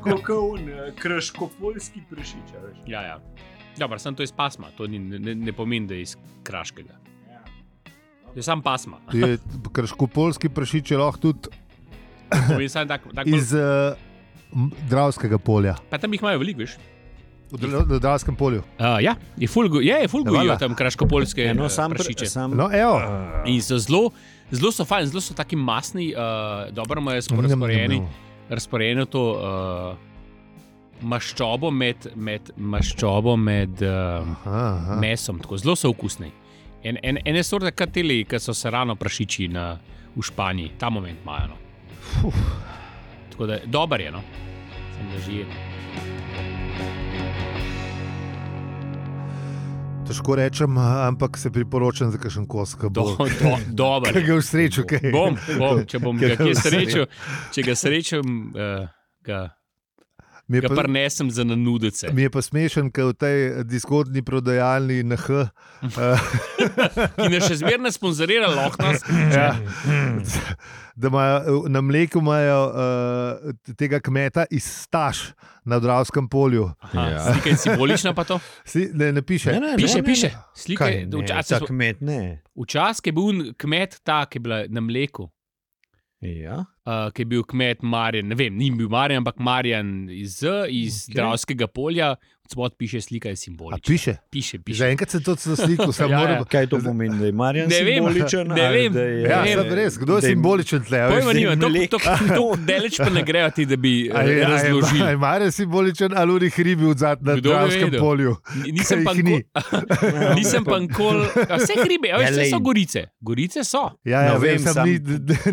Kot on, kraškopoljski prešič. a veš. Ja, ja. Dobro, sem to iz pasma, to ni, ne, ne pomeni, da je iz kraškega. Ja. Je sam pasma. Je krško-polski pršič je lahko tudi Pomeni samo tak, tak bolj, iz uh, Dravskega polja, pa tam jih imajo veliko, veš. na Dravskem polju. Uh, ja, je fulgo, je, je fulgo, Hvala. je tam kraškopolske Eno eno sam samo pršiče. pršiče. Sam, No, evo. In so zelo, zelo so fajn, zelo so taki masni, uh, dobro imajo smo Njam, njam, razporejeni, njam. razporejeno to uh, maščobo med, med, maščobo med uh, Aha, aha. mesom, tako zelo so okusni. En, en, ene sorte kateli, ki so se rano prašiči na, v Španiji, ta moment imajo. No. Tako da dober je, no. sem ga že jedel. Težko rečem, eh, ampak se priporočam za kakšen kos, ki Do, bo. do, dober. Ker je. ga v srečo, kaj Bom, bom, če bom ga Ker ga kje v srečal, če ga srečam, uh, ga, Mi je ga pa, prenesem za nanudice. mi je pa smešen, ker v tej diskodni prodajalni na H Ki ne še zmerno sponzorira Lohnas, Ja. Da imajo, eh, na mleku imajo uh, tega kmeta iz Staš na Dravskem polju. Ja. slika je simbolična pa to. Si, ne, ne piše. ne, Piše, ne, piše. ne, Slika Kaj je, Ne, včasih ta smo- kmet ne. včasih je bil un- kmet ta, ki je bila na mleku. Ja. uh, ki je bil kmet Marjan, ne vem, ni bil Marjan, ampak Marjan iz, Z, iz okay. Dravskega polja, spod piše slika je A simbolična. piše. Piše, piše. Zaenkrat se to sliku, samo Ja, ja. moram. Kaj to pomeni, da je Marjan Ne vem, simboličen? ne ali vem, da je- Ja, Ne vem. sem res, kdo je da je- simboličen tle? a veš? Pojma nima, mlek. tako daleč pa ne grejo ti, da bi eh, A je- a je- razložil. a je Mare simboličen ali uri hribi v zadnjem na Kdo bi Dravskem vedel? polju? Nisem Ker pa jih ni. nikoli. Nisem pa nikoli. a Vse hribe, a veš, vse so gorice. Gorice so. Ja, ja No, vem, vem, sem sam- ni,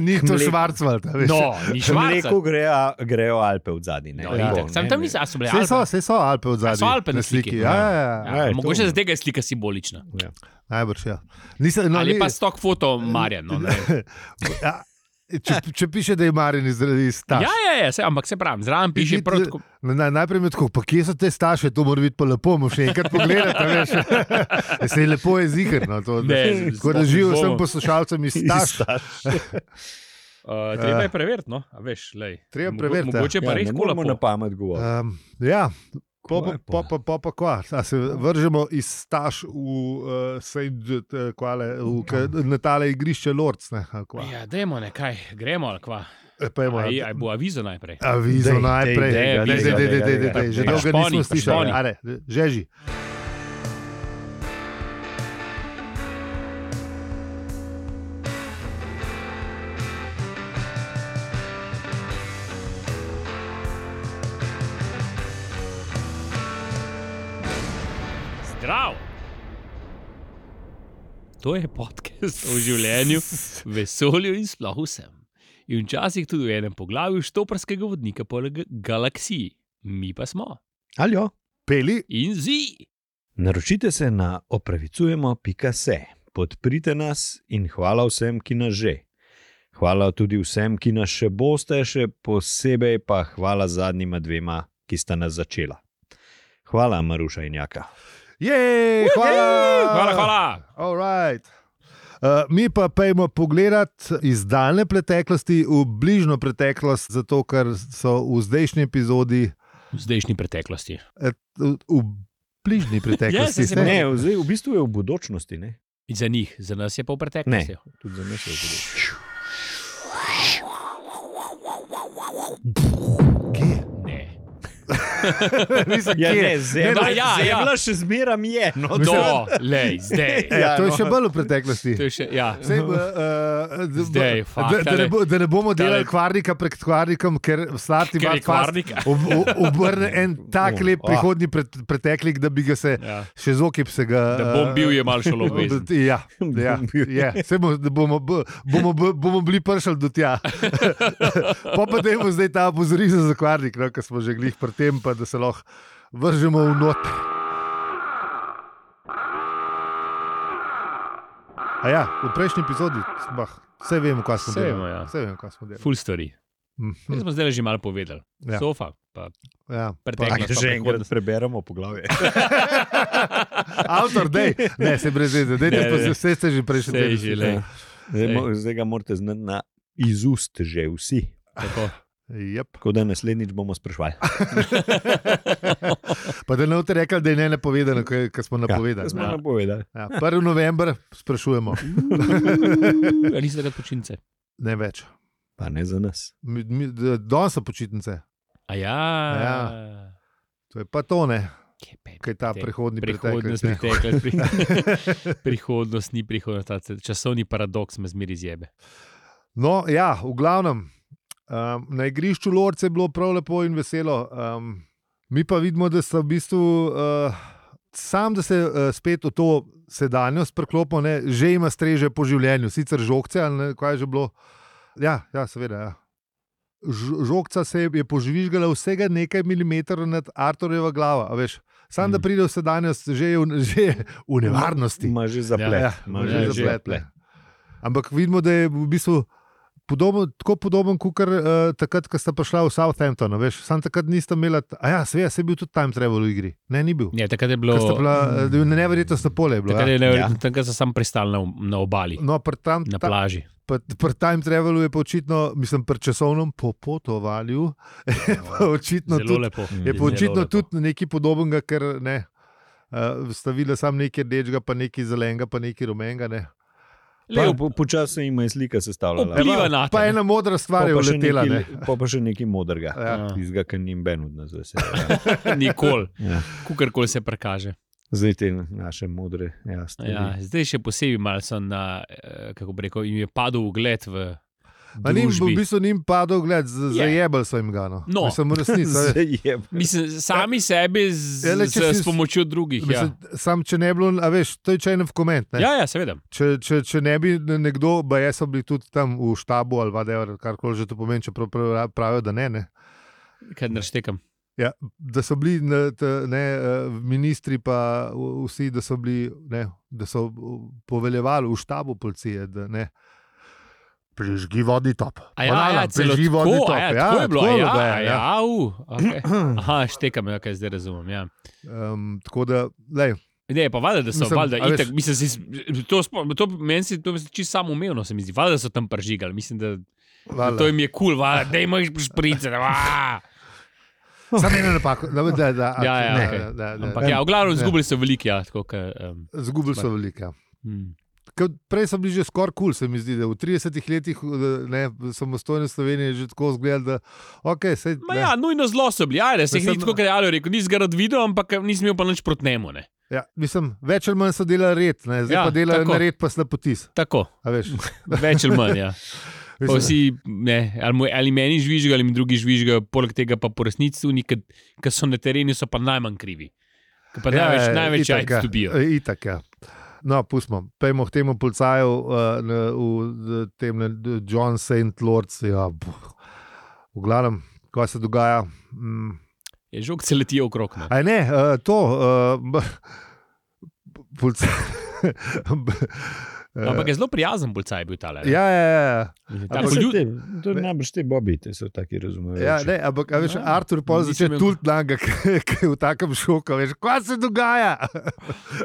ni to Mleko. švarcvald. No, ni K švarca. mleku gre, a- grejo Alpe v zadnji. No, Ja. itak. Sam tam nisem, a so bile Vse so, Alpe. vse so Alpe v zadnjem. so Alpe na sliki? Ja, ja, ja. Ja, Ja, je to. mogoče zdaj je slika simbolična. Najbrž, ja. Nisem, no, Ali ni- pa stok foto Marjan. No, ne vem. Ja, če, če piše, da je Marin iz, iz Staša. ja, ja, ja, se, ampak se pravi, zraven piše prav tako. Na, najprej mi je tako, pa kje so te staše, to mora biti pa lepo, moš še enkrat pogledati. a veš. Ja, Se je lepo je zigrno. To, Ne, tako da sploh živel ne sem bomo. poslušalcem iz Staša. Uh, treba je preveriti, no, a veš, lej. Ja. Treba Mogo- preveriti, ja. Mogoče pa Ja, ja, ne res Eh, moramo kola. na pamet govoriti. Um, ja, po pa, je po pa? pa, po pa kva. A se Ja. vržemo iz Staš v uh, Sejdu, kvale, eh, v, k, na tale igrišče Lords. Ne, ali kva. Ja, dajmo nekaj, gremo ali kva. E, pa imamo- Aj, aj bo avizo najprej. Avizo Dej, dej, najprej, dej, Dej, dej, dej, dej, dej, dej, dej, dej, dej, dej. že dolgo Šponi, nismo slišali, šponi. Are, žeži. Zdrav! To je podcast o življenju, vesolju in sploh vsem. In včasih tudi v enem poglavju štoprskega vodnika po lag- galaksiji. Mi pa smo. Aljo. Peli, In zi! Naročite se na opravicujemo.se, podprite nas in hvala vsem, ki nas že. Hvala tudi vsem, ki nas še boste, še posebej pa hvala zadnjima dvema, ki sta nas začela. Hvala, Maruša in Jaka. Jej, hvala. Hvala, hvala! Alright. Uh, mi pa pojmo pogledat iz daljne preteklosti v bližnjo preteklost, zato ker so v zdajšnji epizodi, V zdajšnji preteklosti. eh, v, v bližnji preteklosti, Ja, saj se ne? Ne, zdaj v bistvu je v budočnosti, ne? Za njih, za nas je pa v preteklosti. Tudi za nas je v budočnosti. Kje? Ne. Mislim, Ja, kje? ne, zemlja, no, ja, ja, ja. zemlja še zmeraj je. No, No, lej, zdaj. Ja, to je no. še bolj v preteklosti. To je še, ja. Sej, uh, uh, Zdaj, fakt, da, da, ne bo, da ne bomo tale- delali kvarnika pred kvarnikom, ker Ker slati je vam kvarnik. kvarnik. Oh, Ob, ob, obrne en tak lep Ah. prihodni pred, preteklik, da bi ga se Ja. še z okip se ga. Da bom bil, je malo šlo eh, obvezen. Ja, ja, Bom bil. ja. Se bomo, da bomo, b- bomo, b- bomo bili pršali do tja. pa pa da imamo zdaj ta opozoril za kvarnik, no, ker smo že glih pri tem, pa da se lahko vržemo v not. A ja, v prejšnji epizodi bah, vse vemo, kaj smo Saj delali. vemo, ja. Vse vemo, kaj smo delali. Full story. Mi Mhm, smo zdaj že malo povedali. Ja. Ja. Sofa. Pa. Ja, Preteklo. pa- Če že enkrat preberemo poglavje. Avtor, dej, ne, se brez veze, dejte, Ne, pa ne. vse ste že prejšli. Saj že, lej. Zdaj, mo- zdaj ga morate znati na izust že vsi. Tako. Yep. Tako da naslednjič bomo sprašvali. Pa da ne boste rekli, da je ne napovedano, kar smo Ja, napovedali. smo Ja, napovedali. ja. 1. november sprašujemo, Ali niste Ja, takrat počitnice? ne več. Pa ne za nas. Mi- mi- d- Danes so počitnice, A ja. Ja. to je pa to, ne, Kje pa je kaj ta Te- prehodni Prihodnost, preteklost. ja. preteklost, pri... prihodnost ni prihodnost, ta c- časovni paradoks me zmeri zjebe. No, ja, v glavnem. Um, na igrišču Lorca je bilo prav lepo in veselo. Um, mi pa vidimo, da so v bistvu, uh, sam da se uh, spet v to sedanjost preklopimo, ne, že ima streže po življenju, sicer žogce ali ne, kaj je že bilo. Ja, ja seveda. Ja. Ž- Žogca se je je požvižgala vsega nekaj milimetrov nad Arturjeva glava. a Veš. Sam, da Mm. pride v sedanjost, že je v, že je v nevarnosti. Ima že zaplet. Ja, ima ja, že že zaplet. Ampak vidimo, da je v bistvu podoben, tako podoben kot uh, takrat, ko sta prišla v Southampton. a Veš, sam takrat nista imela, t- a ja, seveda, se je bil tudi time travel v igri. Ne, ni bil. Ja, takrat je bilo. Ker sta bila, eh, da je Neverjetno sta pole. je Bilo, Takrat ja. je neverjetno, ja. takrat so sam pristali na, na obali, No, pri tam- na ta- plaži. pri- pri time travelu je pa očitno, mislim, pri časovnem popotovanju je pa očitno Zelo no, tudi lepo. Mm. Je pa Zelo očitno lepo. tudi nekaj podobnega, ker ne. Uh, stavila sem nekaj rdečega, pa nekaj zelenega, pa nekaj rumenega. Ne. Pa Lepo. po- Počasi jim je slika sestavljala. Vpliva pa, Pa- nate, pa ne. ena modra stvar je pa še uletela. nekaj- Ne. pa pa še nekaj modrega. Ja. Tizga, ki njim ben od nas vse. Nikoli, Ja. kukorkoli se prekaže. Zdaj te naše modre, ja, stvari. Ja, Mhm. zdaj še posebej malo so na, eh, kako bi rekel, jim je padel ugled v. A Njim, v družbi. bistvu ni padel gled, z- Je. zajebali so jim ga. No. No. Mislim, v resnici, a veš. Zdaj je. Mislim, sami sebi z, Ja, le, z, če si- s pomočjo drugih. Mislim, Sam, če ne bi bilo, a veš, to je čajno v koment. Ja, ne. ja, ja seveda. Če, če, če ne bi nekdo, pa jaz sem bil tudi tam v štabu ali whatever, kar koli že to pomeni, če pravijo, da ne. ne. Kaj naštekam? Ja, da so bili ne, t, ne, eh, ministri, pa v- vsi, da so, bili, ne, da so poveljevali v štabu policije. Da, ne, Prižgi vodni top. A ja, Banana, ja, celo prižgi tako, vodni a top. ja, tako je bilo. a Ja, bilo, a ja, au, okay. Aha, štekam, ja, kaj zdaj razumem. Ja. Um, tako da, lej, Ne, pa valjda, da so, Mislim, mislim, valjda, a veš- itak, mislim, si, s- to, spo- to, meni se to zdi čisto samoumevno, se mi zdi. Valjda so tam pržigali, mislim, da, da valjda. to jim je kul, cool, da imaš šprice. da, Samo eno napako. Da, da, da, Ja, ja, ne, okej. da, da, da, Ampak ja, v glavnem Ja. izgubili so veliki, ja, tako kot. Um, Zgubili so veliko. ja. Hmm. hm. Ker Prej so bili že skoraj kul, cool, se mi zdi, da v 30 letih eh, ne, samostojne Slovenije je že tako zgled, da okay, sej, Ma ne. ja, nujno zlo so bili, ajde, se jih ni Mislim, tako kot Real rekel, nisem ga rad videl, ampak nisem imel pa nič proti njemu. Ne. Ja, mislim, več ali manj so delali red, ne? zdaj Ja, ja, pa delajo tako. na red, pa slapotis. Tako, a veš. več ali manj. Ja. Pa Mislim, Vsi, ne, ali, mu, ali meni žvižgajo, ali mi drugi žvižgajo, poleg tega pa po resnici, oni, ki ki so na terenu, so pa najmanj krivi. Ki Pa največ, ja, največ itak, ja. jajc dobijo. E, Itak, ja. No, pustimo. Pejmo k temu policaju uh, na- v eh, tem ne, d- John St. Lords. Ja, buh. v glavnem, kaj se dogaja. Mm. Je žog se letijo okrog. no. ne. A ne, uh, to. Uh, Policaj. No, Ampak je zelo prijazen bolcaj bil ta le. Eh, Ja, ja, ja. Ampak saj te- To je najbrž te bobi, te so taki razumevajoči. Ja, ne, ampak a veš, Ja. Artur pol Nisem začne imel- tuliti na njega, ker ker je v takem šoku. Veš, kaj se dogaja?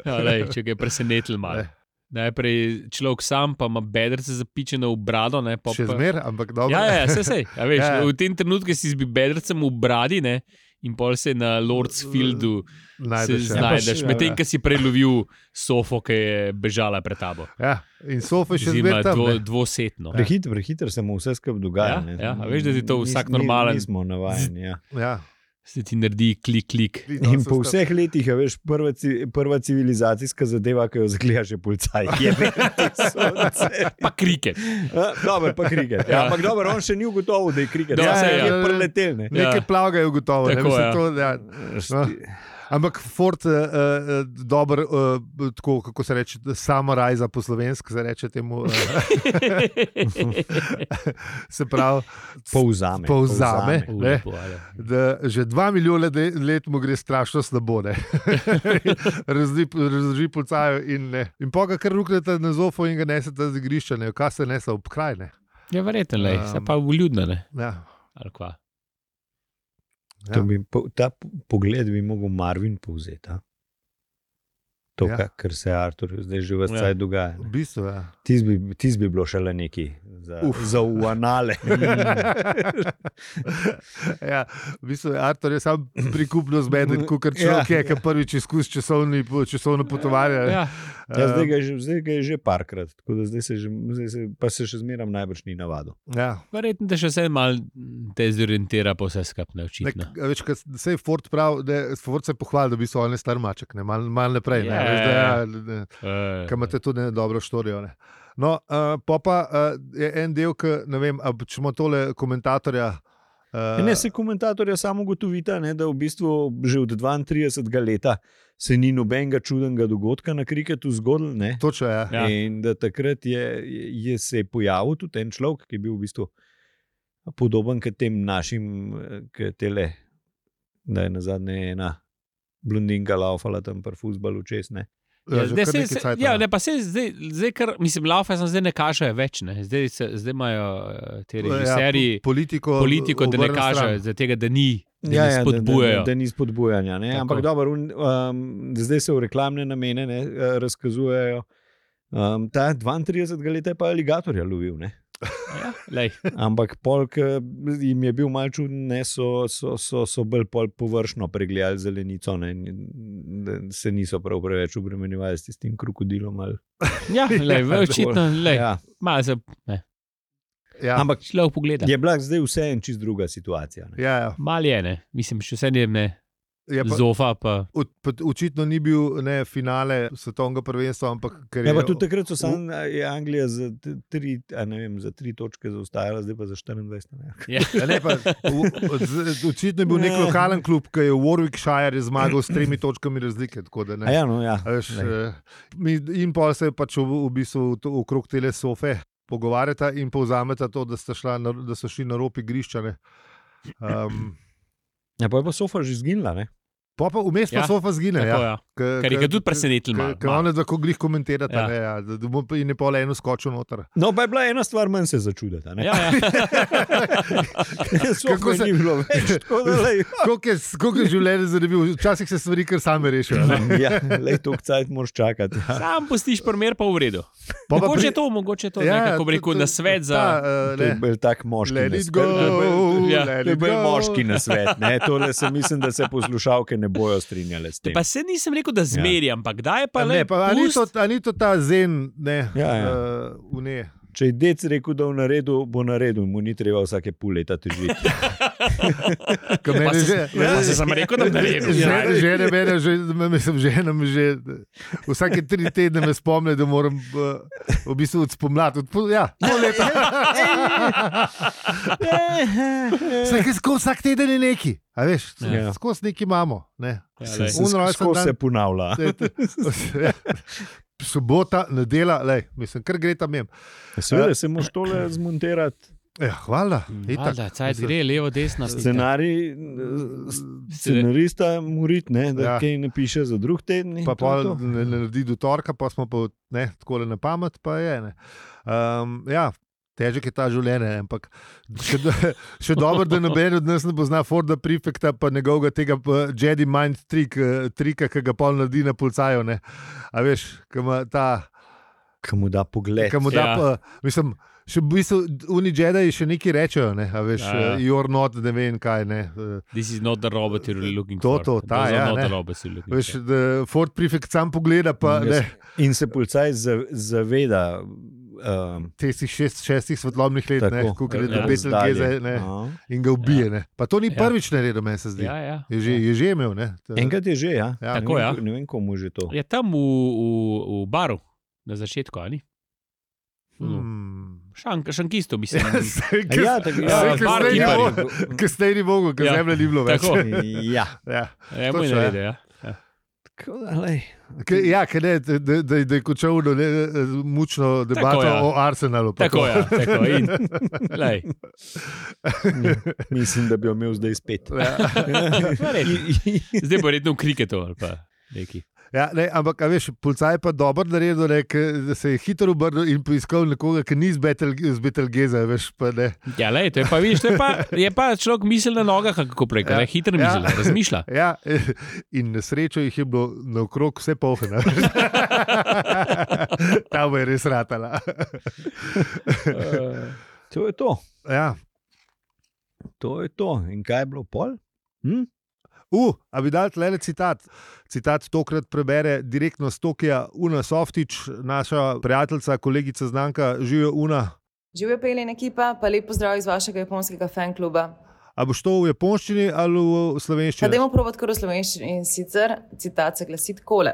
Ja, lej, če ga je presenetil malo. Ne. Najprej človek sam, pa ima bedrce zapičene v brado. Ne, pa, Še pa- zmeraj, ampak dobro. Ja, ja, vse sej. A Veš, Ja, ja. V tem trenutku si z bedrcem v bradi ne, in pol se na Lord's Fieldu se Najdeš, ja. znajdeš, Ja, pa še, medtem ja. ko si prelovil sofo, ki je bežala pred tabo. Ja, in sofa je še Zima zmeraj tam. dvo, ne. dvosetno. Prehiter, prehiter se mu vse skupaj Ja, dogaja. ne. ja, a veš, da ti to Nis- vsak ni- normalen- Nismo navajeni. Ja. Ja. no, Se ti naredi klik, klik. In po vseh letih, a veš, prva, ci, prva civilizacijska zadeva, ki jo zgleda že policaj, je Pa kriket. Dobro, pa kriket. Ja, ampak dobro, on še ni ugotovil, da je kriket. Ja, Ja, saj, ja, ja. je preletel. Ne. Nekaj Ja. ja. plavega je ugotovo. ne, Tako, mislim, ja. to, ja. No. Ampak Ford, uh, uh, dober, uh, tako kako se reče, samoraj za poslovensk, se reče temu. Uh, se pravi, Povzame. Povzame. U, Ne. lepo, ale. da že dva milijona de- let mu gre strašno slabo, ne. Razdi- razloži policajo in ne. In poga kar ruknete na zofo in ga nesete z igrišča, ne, kaj se nese ob kraj, ne. Ja, verjetno, lej, se Um. pa vljudno ne. Ja. ali kva. To Bi, po, ta po- pogled bi mogel Marvin povzeti. a? to, Ja. ja. kar se Artur zdaj že vse Ja. ja. dogaja. V bistvu, ja. Tis bi, tis bi bilo šele neki za, Uf. za uanale. Mm. ja, v bistvu je Artur je sam prikupno zmeden, kot Ja, človek, ja, ki je prvič izkusil časovni- časovno potovanje. Eh, Ja, Ja, zdaj, ga je, že- zdaj ga je že parkrat, tako da zdaj se, že, zdaj se, pa se še zmeraj najbrž ni navadil. Ja. verjetno te še vse malo dezorientira, pa vse skupaj Nek, očitno. a veš, kaj, sej Ford, prav, da, Ford se je pohvalil, da bi so oni star maček, ne, malo mal naprej. Ja, Yeah. Veš, da, ja, ja, da, Eh, Kaj imate tudi ne, dobro štorijo. Ne. No, uh, pa pa uh, je en del, ki ne vem, a če imamo tole komentatorja. Uh, Uh, ne, se komentatorja samo ugotovita, ne, da v bistvu že od 32. leta se ni nobenega čudnega dogodka na kriketu zgodil. Ne. Točno je. Ja. Ja. In da takrat je, je, je se je pojavil tudi en človek, ki je bil v bistvu podoben k tem našim, eh, k tele, da je na zadnje ena blondinka laufala tam pri fusbalu čez. Ne. Ja, že zdaj kar se- nekaj no. se- cajta, ja, ne. ne, pa se zdaj, zdaj kar, mislim, laufe sem zdaj ne kažejo več, ne. zdaj, se, zdaj imajo eh, ti režiserji Ja, po- politiko, ja, politiko, da ne obrne stran. kažejo, zaradi tega, da ni, da Ja, ne ja, Da, spodbujajo. da, da ni spodbujanja. Ne? Tako. Ampak dobro, un, um, zdaj se v reklamne namene ne, eh, razkazujejo. Um, ta 32 let je pa aligatorja lovil. Ne? Ja, lej. Ampak polk jim je bil malce čuden, ne, so, so, so, so bolj pol površno pregledali zelenico, ne, in da se niso prav preveč obremenjevali s tistim krokodilom. Ali, Ja, lej, dovolj. očitno, lej, ja. ja. malo se Ja, Ampak šlo v pogled. je bila zdaj vseeno čist druga situacija. Ne. ja, ja. Mal je, ne. mislim, še vse ne, ne. Je Ja, pa, zofa. Pa. od, pa, očitno ni bil ne, finale svetovnega prvenstva, ampak ker Ja, je pa tudi takrat so sam, je Anglija za t- tri, a ne vem, za tri točke zaostajala, zdaj pa za 24. Ne. Ja. Ja, Ne, pa, v, z, očitno je bil nek Ne. lokalen klub, ki je v Warwickshire zmagal s tremi točkami razlike. tako da ne. A Ja, no, ja. A Veš, Glej. eh, mi- in pa se pač v, v bistvu to- okrog tele sofe pogovarjata in povzameta to, da, sta šla na, da so šli na rob igrišča. ne. Um, ja, pa je pa sofa že zginila. Ne? pa pa vmes pa Ja, ja, sofa zgine. Tako, Ja. ja. K- Kar k- je tudi k- presenetilo. malo, Ker malo. oni tako glih komentirata, Ja. ja. Ne, ja, da, da bo in je pa le eno skočil noter. No, pa je bila ena stvar, manj se začudita. Ja, ja. Kako se- se je bilo več? Tako, da, lej, Koliko je, koliko je življenje zanimivo, včasih se stvari kar same rešijo. ne. ja, lej, to kcajt moraš čakati. Sam pustiš primer, pa v redu. Pa pa Mogoče pri- je to, mogoče je to, ja, kako bi rekel, to- na svet ta, za. eh, To je ne. bil tak moški Let it nasvet. go, ja, let To je it bil go. moški na svet. Tole se mislim, da se poslušalke ne bojo strinjale s tem. Pa se nisem rekel, da zmeri, ja. ampak kdaj je pa le. Ne, pa, a, ni to, a ni to ta zen, ne, Ja, ja. Uh, v ne. Če je dec rekel, da je v naredu, bo naredil, mu ni treba vsake pol leta težiti. Ko mene se- že- Ja, se sem rekel, da ne vem. ja. Že- Žene mene, že, mislim, žena mi že vsake tri tedne me spomne, da moram eh, v bistvu od spomladi, od pol, ja, pol leta. Saj, ker skozi vsak teden je neki, a veš, Ja. skozi neki imamo. Ne. Ja, Se, lej. se, Un rojsten skozi dan. se ponavlja. Saj to- ja. Sobota, nedela, lej, mislim, kar gre tam mem. Seveda se moraš tole zmontirati. Ja, hvala. Mm. Valjda, cajt gre, levo, desno. Scenarij, eh, scenarista morit, ne, da Ja. ja. kaj ne piše za drug teden. in Pa to je pol to. ne ne naredi do torka, pa smo pa ne, tako le na pamet, pa je. ne. Um, ja, težek je ta življenje, ne, ampak še, do, še dobro, da noben od nas ne pozna Forda Prefekta, pa njegovega tega pa Jedi Mind trik, eh, trika, ki ga pol naredi na pulcaju. Ne. A veš, ki ima ta, Kaj mu da pogled? ki mu da, Ja. ja. mislim. Še v bistvu, oni Jedi še nekaj rečejo, ne, a veš, Ja, ja. ja, ja. you're not, ne vem kaj. Ne. eh, This is not the robot you're looking To, for. to, ta, Those are ja, not ne. the robots you're looking Veš, for. da Ford Prefect sam pogleda, pa Mm, jaz- ne, In se policaj za- zaveda. Um, teh šest, šestih svetlobnih let, Tako, kako gre ja, do Betelgeze. ne. No. in ga ubije. Ja. Pa to ni Ja. ja. prvič naredil, meni se zdi. Ja, Ja. ja. Je, že, je že imel. Ne? To- Enkrat je že, ja. Ja. Tako, ne, ja. vem, ko- ne vem, komu že to. Je Ja, tam v, v, v baru na začetku, ali? Hmm. Hmm. Šank, šankisto bi se. Ja, saj, A ke- Ja, tako, saj, ja, ke bar zdaj ni kiparji. mogel- ke zdaj ni mogel, ker Ja. zemlje ni bilo več. Tako. ja. Ja, Ja, moj točno, narede, ja. Tako da, lej. Ke- ja ke ne, da, da, da, da je končal ono, ne, eh, mučno debato Tako, ja. o Arsenalu. pa Tako to. je, ja, tako je. Lej, Mislim, da bi jo imel zdaj spet. Ja. verjetno. Zdaj bo redno v kriketu ali pa neki. Ja, ne, ampak, a veš, policaj je pa dobro naredil, ne, ke- da se je hitro obrnil in poiskal nekoga, ki ni iz Betel- iz Betelgeza. Veš, pa ne. Ja, lej, to je pa, vidiš, to je pa, je pa človek misel na nogah, ali kako prej, Ja. ja. hitro Ja. misli, ja. razmišlja. Ja, in na srečo jih je bilo naokrog vse pohne. Ta bo je res ratala. To je to, Ja. to je to. In kaj je bilo pol? Hm? Uh, a bi dal le citat. Citat tokrat prebere direktno z Tokija Una Softič, naša prijateljica, kolegica znanka, živijo Una. Živijo peljen ekipa, pa lep pozdrav iz vašega japonskega fan kluba. A boš to v japonščini ali v Če slovenščini? dajmo provat kar v slovenščini in sicer citat se glasi takole.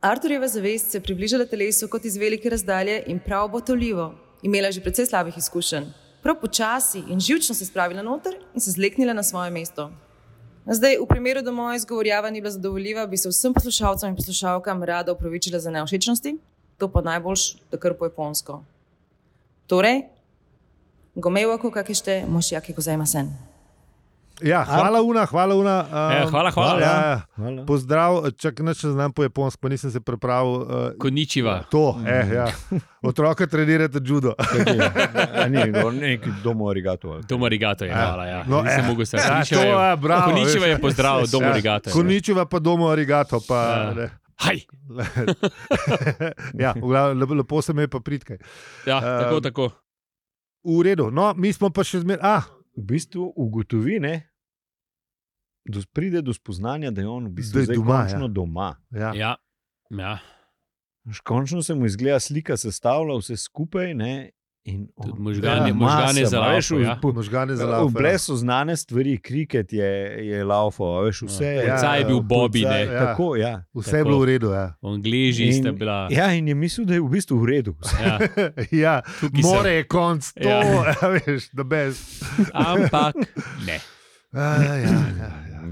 Arturjeva zavest se je približala telesu kot iz velike razdalje in prav botoljivo. Imela je že precej slabih izkušenj. Prav počasi in živčno se je spravila noter in se zleknila na svoje mesto. Zdaj, v primeru, da moja izgovorjava ni bila zadovoljiva, bi se vsem poslušalcem in poslušalkam rada upravičila za neošečnosti, to pa najboljš, da kar po japonsko. Torej, gomejo, kako kešte, moš jaki gozajma sen. Ja, hvala, Una. Hvala, una um, Ja, hvala, hvala. Ja, ja. Hvala. Pozdrav, čak neč ne znam po japonsko, pa nisem se pripravil. Uh, Koničiva. to, eh, ja. Otroka trenirate judo. Tako je. A Ni bilo nekaj domorigatov. Domorigato je Ja. hvala, ja. No, No, Nisem eh. mogel se Ja, Koničiva to je, je- bravo, Koničiva veš. ja. je pozdravil Domorigato. Koničiva pa domo arigato. Pa, Ja. ne. Haj! ja, v glavnem, lepo- lepo se me je pa pritkaj. Ja, tako, Ehm, tako. V redu, no, mi smo pa še zmeraj. Ah, V bistvu ugotovi, ne, do, pride do spoznanja, da je on v bistvu Da je zdaj doma, končno ja. doma. ja. Ja. Ja, Veš, Končno se mu izgleda slika sestavlja vse skupaj. Ne, in on- Tudi možgane- Ja, možgane masa, za a veš, laufa, v- ja. po- Možgane za Eh, V lavo. brez znane stvari, kriket je, je laufo, veš, vse je. Ja, Policaj je bil Bobby, policaj- ne. Tako, ja. Vse je Tako. bilo v redu. Ja. Angleži sta In- bila. Ja, in je mislil, da je v bistvu v redu. vse. Ja. ja, Tukaj sem. more je konc, to Ja. je, ja. veš, da brez. Ampak ne. Ja, ja, ja, ja.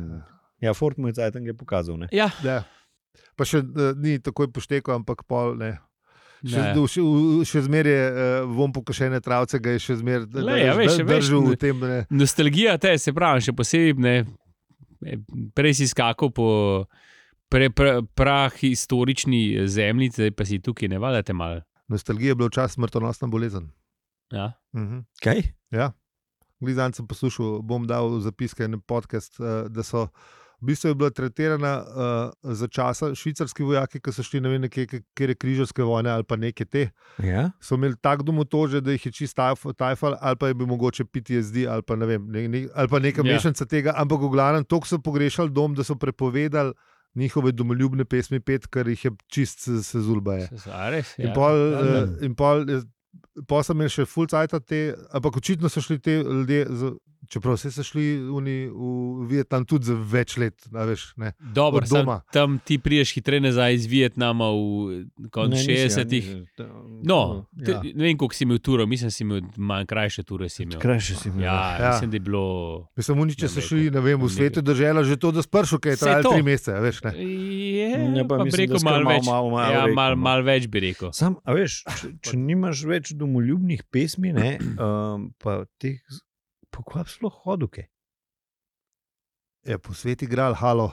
Ja, Fort mu je zdaj tam pokazal. Ne. Ja, Ja. Pa še eh, ni takoj pošteko, ampak pol ne. Še, Ne. v- še, v- še zmeraj je uh, vom pokašene travce, ga je še zmeraj Glej, ja, veš, veš, držal v ne. tem. Ne. nostalgija te, se pravi, še posebej ne. E, Prej si skakal po pre, pre, prahistorični zemlji, zdaj pa si tukaj, ne vada te malo. Nostalgija je bila včasih smrtonosna bolezen. Ja. Mhm. Kaj? Glizan sem poslušal, bom dal v zapiske na podcast, eh, da so v bistvu je bila tretirana uh, za časa švicarski vojaki, ki so šli ne vem, nekje, ke- kjer je križarske vojne ali pa neke te. Ja? So imeli tako domotože, da jih je čist tajf- tajfal, ali pa je bil mogoče PTSD, ali pa, ne vem, ne, ne, ali pa neka Ja. yeah. mešanica tega. Ampak v glavnem, toliko so pogrešali dom, da so prepovedali njihove domoljubne pesmi pet, ker jih je čist se- sezulba. Je. A res? In Ja. pol, Ja. eh, in pol, eh, pol sem imel še full cajt, ampak očitno so šli ti ljudje, z- čeprav vse so šli oni v Vietnam tudi za več let, a veš. Ne. Dobro, od sam, doma. tam ti priješ hitreje nazaj iz Vietnama v koncu Ne, nisi, ja, 60-ih. nisi, to- No, te, ja. ja. ne vem, koliko si imel turo, mislim, da si imel manj krajše ture. si Imel. Krajše si mi. Ja, Ja. ja, mislim, da je bilo. Mislim, oni če so Ja, Ne, šli ne vem, v ne. svetu država, že to, da spršil, kaj je Saj trajalo to. tri mesece, a veš. Ne. Je, Ne, pa pa bi mislim, rekel da skar malo malo, več. malo, malo ja, rekel, malo no. mal več bi rekel. Sam, a veš, Ah, če, če nimaš več domoljubnih pesmi, ne, um, pa teh, pokvap sploh hoduke. Je Ja, po svetu igral halo.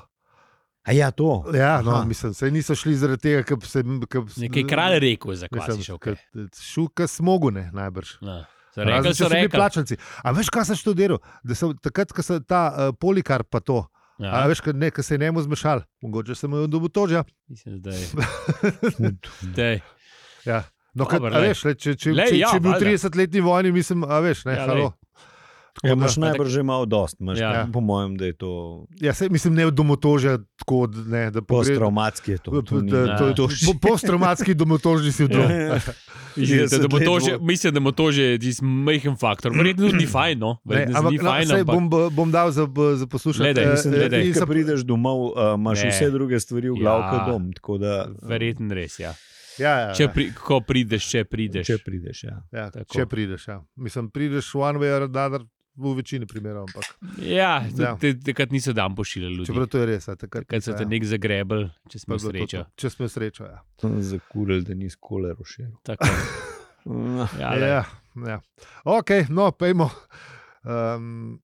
A ja, to. Ja, no, Aha. mislim, se niso šli zaradi tega, ker bi se. ke bi se- Nekaj je kralj rekel, zakaj si šel. Mislim, ke- Šel, kar smogu ne, najbrž. No, Rekel Razen, če so so bili rekel. plačanci. A veš, kaj sem študiral? Da so takrat, ko so ta uh, polikar pa to, A, Ja, veš, kaj, ne, kaj se je njemu zmešal, mogoče sem jo dobil tožja. mislim, da je. Zdaj. Ja. No, kaj, Dobro, a lej. veš, le, če, če, Lej, če, ja, če bi v valjda. 30-letni vojni, mislim, a veš, ne, Ja, ja, lej. halo. Ja, imaš da- najbrž že malo dost, imaš, ja. Ja. po mojem, da je to Ja, se, mislim, ne od domotožja, tako od- ne, da pogre- posttraumatski. je To, da- to, ni- da- to- Ja. to- po- Posttraumatski domotožni sindrom. Ja. Mislim, da, da bo to 30 let že, bo- mislim, da bo to že tisti majhen faktor. Verjetno ni fajn, no. Ne, Verjetno ampak ni no, fajn, saj ampak bom, bom dal za, za eh, poslušanje. Gledaj, mislim, Mislim, da Gledaj. ti, ko prideš domov, a, imaš Ne. vse druge stvari v glavi, Ja. kot dom. tako Da, uh, verjetno res. Ja. Ja, ja, Če ja. pri, ko prideš, če prideš. Če prideš, ja. Ja, Tako. če prideš, ja. mislim, prideš one way or another v večini primerov. Ampak, Ja, Ja. ja. takrat niso dan pošiljali ljudi. čeprav to je res, a takrat Takrat so niso, te ja. nek zagrebel, če Pa smo je bilo to sreča. to. Če smo srečo. Ja. Zakurili, da nisi kolero Uh, še. Tako. Ja, lej. Ja, ja. Ok, no, Ehm, pojmo. Um,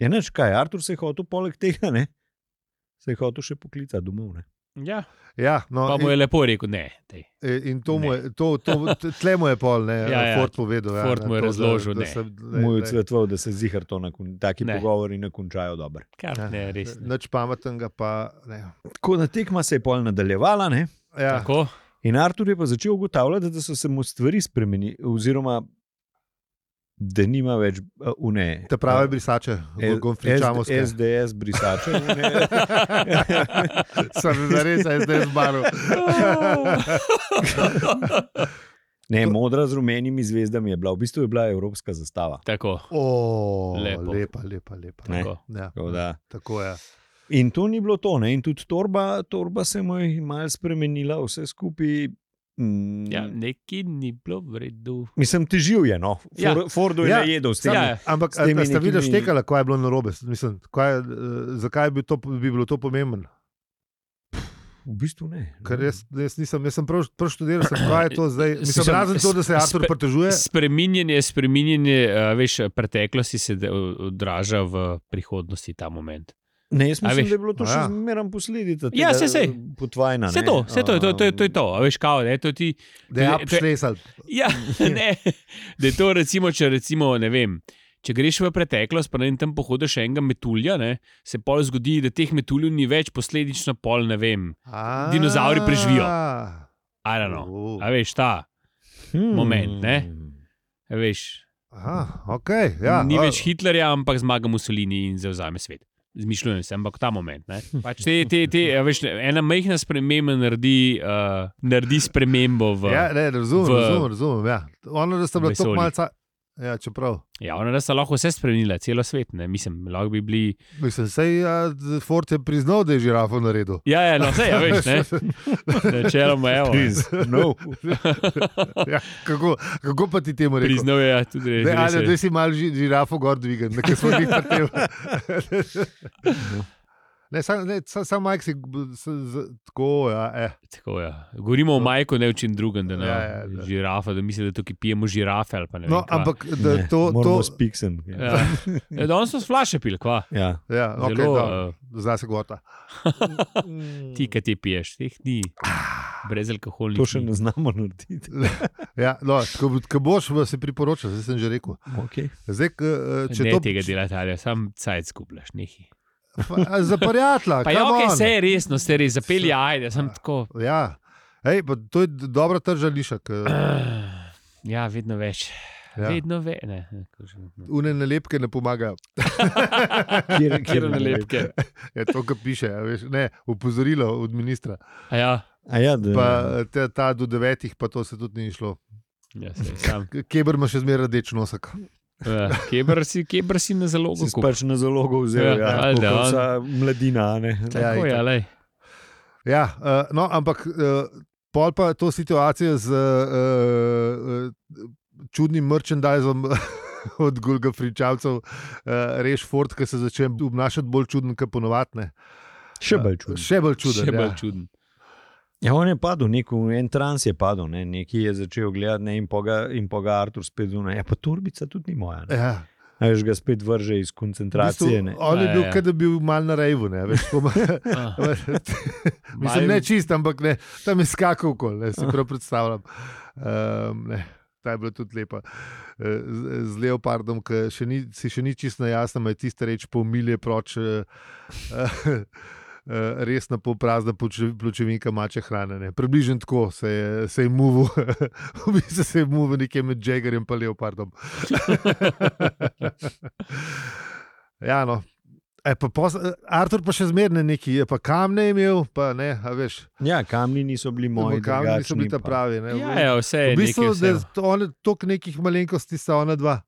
ja, Je neč kaj, Artur se je hotel poleg tega, ne? se je hotel še poklicati domov. Ne? Ja. Ja, Pa no, mu je in, lepo rekel, ne. Tej. in to, mu Ne. je, to, to tle mu je pol, ne, Ja, ja, Ford povedal. Ja, Ford na mu je to, da- razložil, da ne. se- lej, Mu je lej, odsvetoval, da se zihar to na kon- taki Ne. ne. pogovori ne končajo dobro. ja, Kar ne, res. Ne. Nič pametnega, pa ne. Tako da tekma se je pol nadaljevala. Ne? Ja, Tako? In Artur je pa začel ugotavljati, da so se mu stvari spremenile, oziroma da nima več eh, une. te prave brisače, gonfričamo se. SDS brisače. une- Sem zares, zdaj zbaral. Ne, modra z rumenimi zvezdami je bila, v bistvu je bila evropska zastava. Tako. O, Lepo. Lepa, lepa, lepa. Ne. Tako. Ja, Tako da- tako je. In to ni bilo to, ne? in tudi torba, torba se mu je malo spremenila, vse skupaj. Mm, Ja, neki ni bilo v redu. Mislim, težil je, no. For, Ja. ja. Fordo je Ja. ja. najedel s tem. Ja, Ja, ja. Ampak S temi a- a ste videli nekimi- štekala, kaj je bilo narobe? Mislim, kaj, je, eh, zakaj bi, to, bi bilo to pomembno? V bistvu ne. Ker jaz, jaz nisem, jaz sem prav, prav študiral, sem, kaj je to zdaj. Mislim, Mislim, razen to, da se spe- Artur pritožuje. Spreminjanje, spreminjanje, eh, veš, preteklosti se de- odraža v prihodnosti ta moment. Ne, jaz A mislim, veš- da je bilo to Aja. še zmeraj posledica. Ja, tega saj, saj. Potvajna. Vse ne. to, vse to, je to, to, je- to je to. A veš, kao, ne, to ti. Da je to je- to je- apšlesal. Ja, ne. Da je to, recimo, če recimo, ne vem. Če greš v preteklost, pa ne vem, tam pohodiš enega metulja, ne, se pol zgodi, da teh metuljev ni več, posledično pol ne vem. Dinozavri preživijo. I don't know. Uh. A veš, ta, Hmm. moment, ne. a veš. Aha, okay, Ja, ja, ni a- več Hitlerja, ampak zmaga Mussolini in zauzame svet. Zmišljujem se, ampak ta moment. ne. Pač te, te, te, a veš, ena majhna sprememba naredi, uh, naredi spremembo v. Ja, Ja, ne, razumem, v- razumem, razumem. Ja. Ono, da ste bili tako vesolju. malce. Ja, čeprav. ja ona res lahko vse spremenila, celo svet. Ne? Mislim, lahko bi bili. Mislim, sej, ja, Ford je priznal, da je žirafo naredil. Ja, ja, no, vse je, ja, veš, ne. Načeloma, evo. Priz, no. Ja, kako, kako pa ti temu rečeš? Priznal je, ja, tudi res. Ne, res ali je. da si mal ži- žirafo gor dvigan, nekaj smo jih prteli. Ne, sam, ne, sam, sam Mike si b- s- z- tako, ja, eh. Tako, ja. Govorimo o majku, ne o čem drugem, da ne No. Ja, ja, da. ja, žirafa, da misli, da tukaj pijemo žirafe. ali pa ne vem no, kva. ampak da to. to spiksen. Ja. Ja, Danes smo s flaše pil, kva. Ja. ja, okay, Zelo, eh, da, zna se gota. Ti, ki ti piješ, teh ni. Ah. Brez alkoholnih. To še ni. ne znamo narediti. Ja, no, ko, ko boš, se priporoča, zdaj sem že rekel. Okay. Zdaj, k, eh, če ne to, tega delati, ali sam cajt skupljaš, nehi. Pa, za prijatelja. Pa ja, come ok, on. vse je resno, vse je res, zapelji, ajde, sem tako. Ja. Ej, pa to je d- dobra trža lišek. Ja, vedno več. Ja. Ja. Vedno več. Ne, ne, ko že- Une nalepke ne pomagajo. Kjer, Kjer nalepke. Je Ja, to, kar piše. a Veš, ne, upozorilo od ministra. A Ja, A Ja, da, Pa te, ta do devetih, pa to se tudi ni šlo. ja saj, sam. Kebr ima še zmeraj rdeč nosek. Ja, Kebr si, kebr si na zalogo. si kupil. pač na zalogo vzel, Ja, ja, ja, valjda, on- ja, mladina. a Ne. Ja, Tako itak. je, lej. Ja, uh, no, ampak uh, pol pa to situacijo z uh, uh, čudnim merchandizom. Od Gulga Fričavcev, uh, reš Ford, ki se začne obnašati bolj čudno, kot ponovadne. Še bolj čudno. Še bolj čudno. Še bolj ja. čuden. Ja, on je padel, nek, v en trans je padel, ne, neki je začel gledati ne, in poga, in poga Artur spet zunaj. Ja, pa torbica tudi ni moja. Ne. Ja. A veš, ga spet vrže iz koncentracije. ne. on je Ja, bil, ja. kot da bi bil mal na reju. ne, veš, ko ima- Ah, Mal- Mislim, ne čist, ampak ne, tam je skakal, kol, ne, si prav predstavljam. Um, ne, ta je bila tudi lepa. Eh, z- Z leopardom, ki še ni, si še ni čisto jasno, je tiste reč pomilje proč. eh, eh, eh, Resna poprazna ploče- pločevinka mače hrane. ne. Približno tako se je, se je muval, v bistvu se je muval nekje med Jaggerjem in Leopardom. ja, no. E, pa pos, Artur pa še zmerne neki, je pa kamne imel, pa ne, a veš. Ja, kamni niso bili moji. Kamni niso drugačni bili ta pa- pravi. Ne, Ja, ja, vse je. v bistvu, nekaj, vse da je. je to one- toliko nekih malenkosti sta ona dva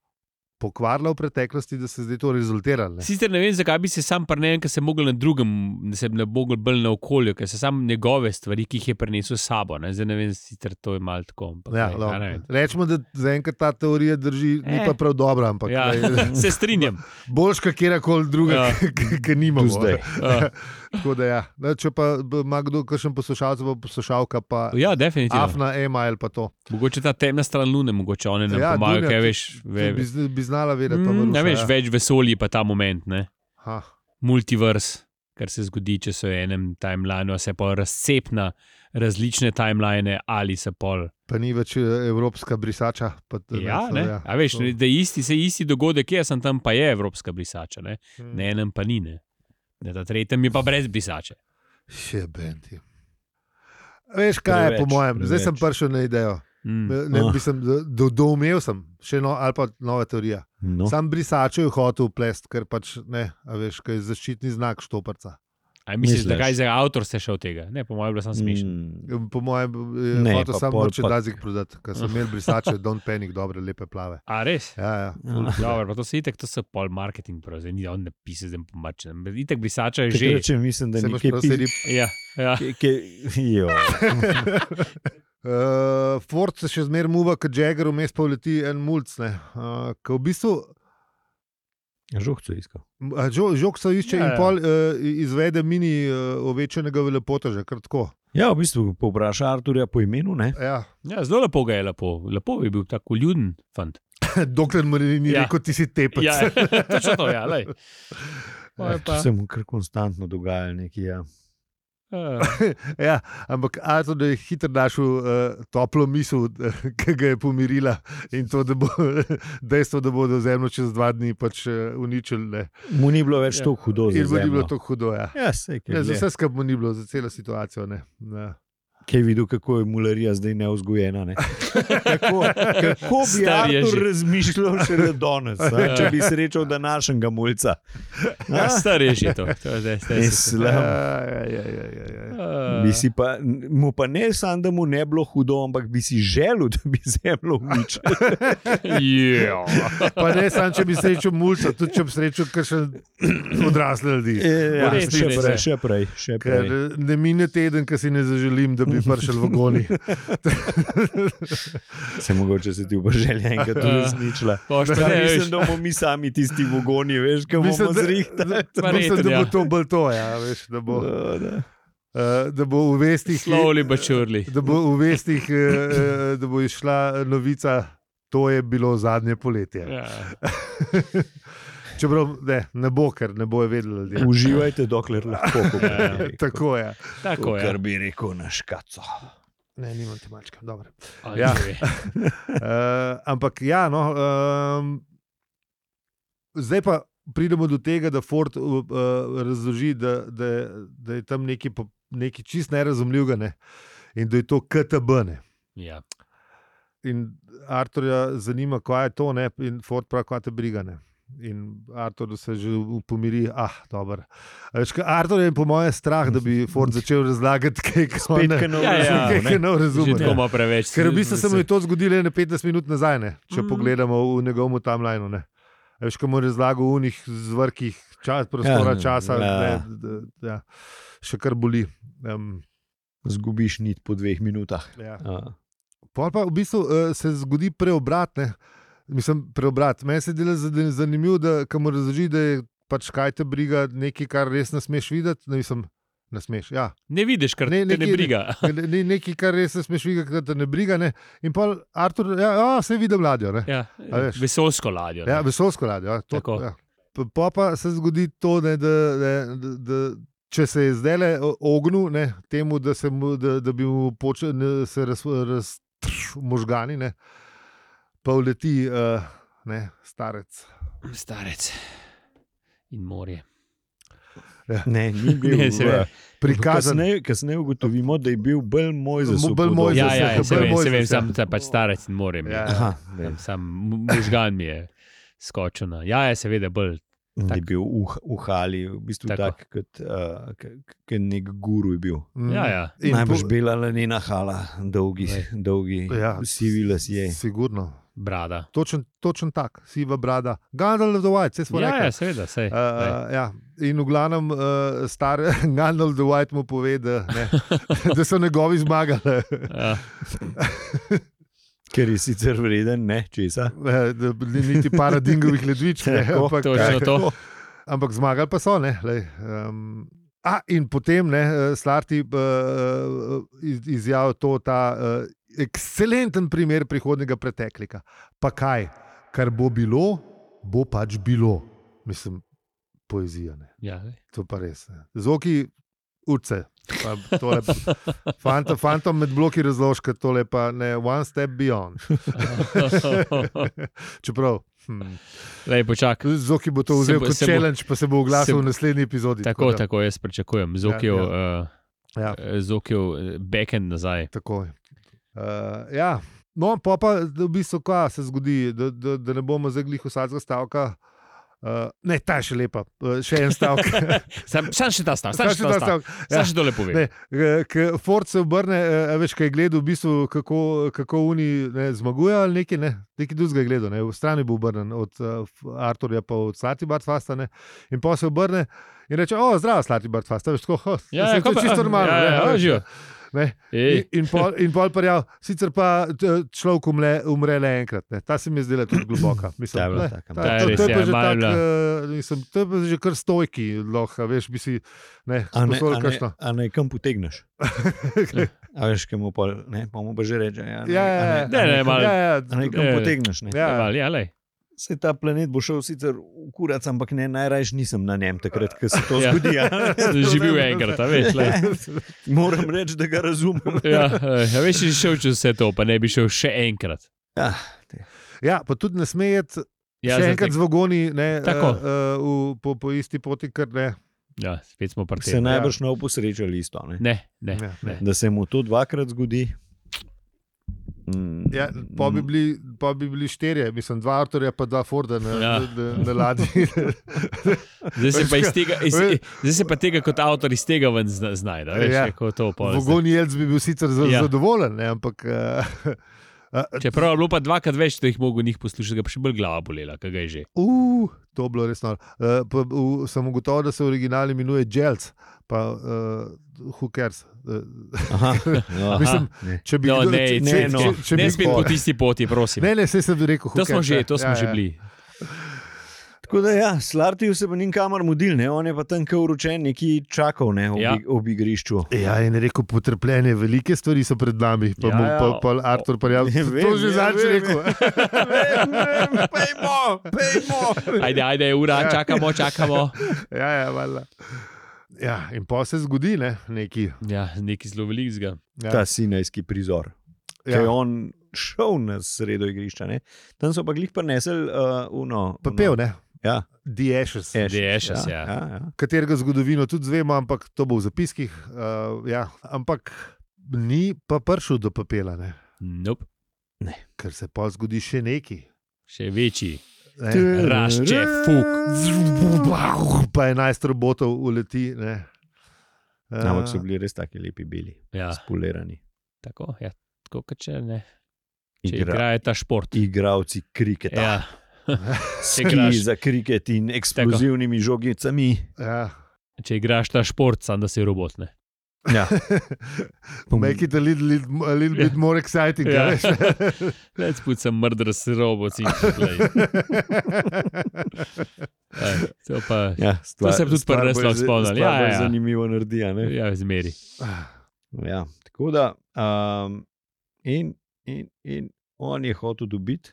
pokvarila v preteklosti, da se zdaj to rezultira. ne. Sicer ne vem, zakaj bi se sam prnel, ker se mogel na drugem, da se ne mogel bolj na okolju, ker se sam njegove stvari, ki jih je prenesel s sabo. Ne, Zdaj ne vem, sicer to je malo tako. Ampak, Ja, ne, no. a ne vem. Rečemo, da zaenkrat ta teorija drži, eh. ni Eh. pa prav dobra, ampak Ja, ja. se strinjam. boljš kot kjerkoli druga, Ja. ja. ki nimamo. Tu zdaj. Uh, Tako da, ja. no, če pa b- ima kdo, kakšen poslušalec, pa poslušalka, pa ja, definitivno. Afna, Ema ali pa to. Mogoče ta temna stran lune, mogoče one ne ja, pomagajo, Dunja, kaj tudi- veš. Ve, tudi Bi, zna- bi znala vedeti, pa Mm, Maruša, ne veš, ja. več vesolji pa ta moment, ne? Ha. multivers. kar se zgodi, če so v enem timelinu, a se pa razcepna različne timeline ali se pol. Pa ni več eh, evropska brisača. Pa, t- Ja, so, ne? ja, A veš, to- da je isti, se isti dogodek, jaz sem tam pa je evropska brisača, ne, Hmm. na enem pa ni, ne. Na ta tretjem je pa brez brisače. Še benti. Veš, kaj je, po Preveč, mojem, preveč. zdaj sem preveč. prišel na idejo. Mm. Ne, Ah. mislim, do, doumev sem, še eno ali pa nova teorija. No. No. Sam brisačev je hotel plest, ker pač ne, a veš, kaj je zaščitni znak štoparca. A misliš, Hmm. Misliš? da kaj za avtor se še od tega? Ne, po mojem, bilo sem smešen. Mm, Po mojem, Ne, je hotel pa samo pol oče pa- dazik prodati, ker so imeli brisače, don't panic, dobre, lepe plave. A res? Ja, ja. ful Ja. hude. Dobro, pa to se itek, to so pol marketing, prav, zdaj ni on napisal, zdaj pomačen. Itek brisača je že. Že če mislim, da Se imaš nekaj prav, pi- sedi Ja, ja. ki- ki- jo. Uh, Ford se še zmeraj muva, kot Jagger, vmes pa leti en mulc. Uh, v bistvu, Žogco iskal. žog se išče Ja, ja, in ja. pol uh, izvede mini uh, ovečenega velepoteža, kar tako. Ja, v bistvu povpraša Arturja po imenu, ne? Ja. ja, zelo lepo ga je, lepo, lepo je bil tako ljuden fant. Dokler mu ni Ja. ja. rekel, ti si tepec. Ja, točno to, ja, lej. Pa je To pa, se mu kar konstantno dogaja nekaj. Ja. eh, ja, ampak Artur je hitro našel uh, toplo misel, ki ga je pomirila in to, da bo dejstvo, da bodo zemljo čez dva dni pač, uh, uničili. ne. Mu ni bilo Ja. več ja. tako hudo. In mu za ni bilo zemljo. tako hudo. Ja. Ja, sej, ker Ne, za je vse skupaj mu ni bilo, za celo situacijo. Ne. Ja. Ne. Kaj je videl, kako je mularija zdaj neozgojena? Ne? Kako, kako bi Star je Artur že. razmišljal še do danes, a? če bi srečal današnjega mulca? ja, star je že to. to je zdaj, zdaj se- Ja, Mislim, ja, ja, ja, ja, ja. Uh. Eh, Bi si pa, mu pa ne samo, da mu ne bilo hudo, ampak bi si želel, da bi zemljo uničil. ja. Pa ne samo, če bi srečal mulca, tudi če bi srečal kakšen odrasle ljudi. Ja, res, še res, ja. prej, še prej. Še Ker prej. ne mine teden, ki si ne zaželim, da bi prišel v goni. Se mogoče se ti bo želja enkrat Ja. uresničila. Boš pa Ja, ne, veš, mislim, da bomo mi sami tisti vogoni, veš, kaj Mislim, bomo da- zrihtali. Mislim, Verjetno, da bo ja. to bolj to, ja, veš, da, bo, Da, da. eh, da bo v vestih, slowly but surely. da bo, v vestih eh, eh, da bo išla novica, to je bilo zadnje poletje. Ja. Čeprav ne, ne bo, ker ne bojo vedeli ljudje. Uživajte, dokler lahko. kako Ja, ja. bi rekel. Tako je. Tako je. Kar bi rekel na škaco. Ne, nimam te mačke, dobro. Ja. Ja. Uh, ampak ja, no, um, zdaj pa pridemo do tega, da Ford uh, uh, razloži, da, da, da je tam nekaj, po- nekaj čist nerazumljivega ne? in da je to KTB. Ne? Ja. In Arturja zanima, kaj je to, ne? in Ford pravi, kaj te briga. Ne? In Artur se že v- pomiri, ah, dobro. A veš, kaj, Artur je po mojem strah, da bi Ford začel razlagati, kaj je Spet, ki ne Ja, ja, razume, ne. Že tako razumem. ima preveč. Ker v bistvu se mu je je to zgodilo ene 15 minut nazaj, ne? če Mhm. mm. pogledamo v njegovem timelinu. ne. A Veš, kako mu je razlagal v unih zvrkih čas, prostora, Ja, ja, časa, ja. ja. Ne, d- d- ja, še kar boli. Um, Zgubiš nit po dveh minutah. ja. A. Pol pa v bistvu uh, se zgodi preobrat. Ne? Mislim, preobrat. Meni se dela zade- zanimivo, da ko mu razloži, da je pač kaj te briga, nekaj, kar res ne smeš videti. Ne, mislim, ne smeš. Ja, Ne vidiš, kar ne, Ne, te ne nekje- briga. ne, ne, nekaj, kar res ne smeš videti, ker te ne briga. Ne? In pa Artur, ja, ja se vidi mladjo. Ne? Ja. A veš. Vesolsko ladjo. Ja, ne. vesolsko radio. Ja, Tako. to, ja. Pa- Pa pa se zgodi to, ne, da, da, da, da če se je zdaj le ognil ne, temu, da, se, mu- da, da bi mu počel, ne, se raz, raz trš, možgani, ne, pa uleti uh, ne, starec. Starec in morje. Ne, ni bil. Ne, seveda. Prikazan. Kasneje, kasneje ugotovimo, da je bil bolj moj za Bolj Mojzes, Ja, Zdaj ja, se- ja, se vem, Mojzes, se vem, ja. sam ta pač starec in morje. mi je. Ja, ja. Aha, Sam, sam mu- možgan mi je skočil na. Ja, ja, seveda, bolj. da Tak. je bil v, v hali, v bistvu Tako. tak, kot, uh, kot nek guru je bil. Mm. Ja, ja. In Najbrž po- bila lena hala, dolgi, Glej. dolgi ja. Ja. sivi lasje. Sigurno. Brada. Točen, točen tak, siva brada. Gandalf the White, vse smo rekli. Ja, ja, seveda, sej. Uh, Uh, ja. In v glavnem, uh, star Gandalf the White mu pove, da, ne, da so njegovi zmagali. uh, Ker je sicer vreden, ne česa. Ne, da ni niti paradigmovih ledvičk, ne, Tako, ampak, točno to. ampak zmagali pa so. Ne, lej, um, a, in potem ne, eh, Slarti uh, izjavil to, ta uh, ekscelenten primer prihodnega preteklika. Pa kaj, kar bo bilo, bo pač bilo. Mislim, poezija. Ne. Ja, glej. To pa res. Ne. Zoki, urce. Pa tole pa- Fanta, fantom med bloki razložka, tole pa ne, one step beyond. Čeprav. Hm. Lej, počakaj. Zoki bo to Se vzel bo- kot se bo- challenge, pa se bo oglasil se bo- v naslednji epizodi. Tako, da, tako jaz pričakujem. Zokil, Ja, ja, Ja. ja. uh, zokil eh, backend nazaj. Tako je. Uh, ja. No, pa pa da v bistvu kva se zgodi, da, da, da ne bomo zaglih vsakega stavka. Uh, ne, ta je še lepa, uh, še en stavek. Sam, sam še ta stav, sam Kaj še ta stav. Ja. Sam še tole povem. Ne, eh, ke Ford se obrne, eh, a veš, kaj je gledal, v bistvu, kako, kako oni ne, zmagujejo ali nekaj, ne, nekaj drugega je gledal, ne, v strani bo obrnen od uh, Arturja pa od Slati Bartfasta. Ne, in pa se obrne in reče: O, zdravo, Slati Bartfasta, veš, tako, ho, Ja, ja, to kaj je pa- čisto normalno. ja, ne, ja, a veš, živijo. Ne, Ej, In, in pol, in pol parjal, sicer pa t- človek umre, umre le enkrat. Ne. Ta se mi je zdela tudi globoka. Mislim, Ta je bila ne, taka, ta- ta Ja, je to- res, to je ja, pa že malo je tak, bila. eh, mislim, To je pa že kar stojki, lahko, veš, bi si ne, A ne, sposodil a ne, kakšno. a ne kam potegneš. a veš, kam mu pa, ne, pa mu pa že reče. Ja, ne, Ja, a ja, ja. a Ne, ne, kam- malo- Ja, ja, A ne, kam Ne. potegneš. Ne. ja. ja, ja, lej. Se ta planet bo šel sicer v kurac, ampak ne, najrajš nisem na njem takrat, ko se to Ja. zgodi. a. Živel je enkrat, a veš. Lej. Moram reči, da ga razumem. Ja, eh, a veš, če bi šel čez vse to, pa ne bi šel še enkrat. Ja, Ja, pa tudi ne smejete, Ja, ja, še zdaj enkrat tek- z vagoni, ne, Tako. eh, eh, v, po, po isti poti, ker ne. ja, spet smo se partizani. najbrž ne oposrečali isto. Ne? Ne, ne. Ja, ne. Da se mu to dvakrat zgodi. Mm, Ja, pa, bi bili, pa bi bili štirje, mislim, dva Arturja, pa dva Forda na, ja. Ja. na, na ladji. Zdaj se, pa iz tega, iz, Veš- zdaj se pa tega kot avtor iz tega ven zna- znajde. a Veš, Ja. ja. kako to pojme. Vagon Jelc bi bil sicer za, ja. Ja. zadovoljen, ne, ampak eh, uh, Čeprav je bilo pa dvakrat več, da jih mogo njih poslušati, ga pa še bolj glava bolela, kaj ga je že. uh, to bilo resno. Uh, pa, v, sem ugotovil, da se original imenuje Jelc, pa uh, who cares. Uh, Aha, ja. aha, Mislim, ne. če bi No, kdo- ne, če- ne, če- no. če- če ne bi spet kdo- po tisti poti, prosim. Ne, ne, sej sem rekel, who To smo cares, že, ne. to smo Ja, že ja. bili. Tako da, ja, Slartiju se bo nikamor mudil, ne? on je pa tam kot uročen, neki čakal ne, ob, Ja. ja. ob igrišču. Ja, in rekel, potrpljenje, velike stvari so pred nami, pa Ja, mu ja. pa, pa Artur pa jaz. Ja, To vem, že ja, zadnjič vem, rekel. Pejmo, pejmo. Ajde, ajde, ura, čakamo, čakamo. Ja, ja, valjda. ja, in pa se zgodi ne, neki. Ja, nekaj zelo velikega. Ja, Ta sinajski prizor. Ja. Ker je ja. on šel na sredo igrišča, ne? tam so pa glih prenesli uh, uno. Pa uno- pev, ne? Ja, The Ashes. Ashes, The Ashes, no. ja. ja, ja. Katerega zgodovino tudi znamo, ampak to bo v zapiskih. Uh, ja. Ampak ni pa prišel do papela, ne? Nope, ker se pa zgodi še neki. še večji. Ne? Rašče, fuk. Pa 11 robotov uleti. ne. Eh, Ja, Ampak so bili res tako lepi, bili, Ja, spolirani. tako, ja, tako kot če ne. Če Igra, igrajo ta šport. igravci kriketa. Ja. Ja, Ski igraš- za kriket in eksplozivnimi tako. žogicami. ja. če igraš ta šport, sam da si robot. Ne? Ja. Make it a little, little, a little bit more exciting. Ja. Ja. Let's put some murderous robots in play. Ej, To pa ja, stvar, se bi tudi stvar pri nas bolj lahko za- spomnili. stvar Ja, bolj ja, ja. Zanimivo naredi. a ne? ja, zmeri. Ja, tako da, um, in, in, in on je hotel dobiti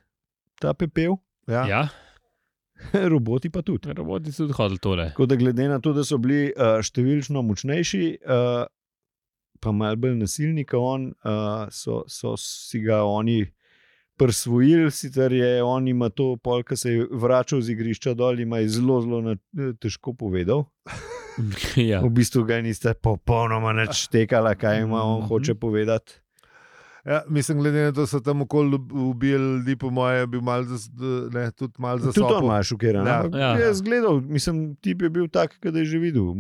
ta pepel, ja. Ja, roboti pa tudi. roboti so tudi hodili tole. Tako da, glede na to, da so bili uh, številčno močnejši, uh, pa malo bolj nasilni, kot on, uh, so, so si ga oni prisvojili. Sicer je on ima to, pol, ki se je vračal z igrišča dol, ima je zelo, zelo na, eh, težko povedal. ja. Ah. V bistvu ga niste popolnoma načtekala, kaj ima on Mhm. hoče povedati. Ja, mislim, glede na to, da so tam okoli ub- ubili ljudi, po mojem, je bil mal zas, ne, tudi malo Tudi to zasobljen. imaš, šokiran. Ja. Ja, Ja. ja. Jaz gledal, mislim, tip je bil tak, kot da je že videl,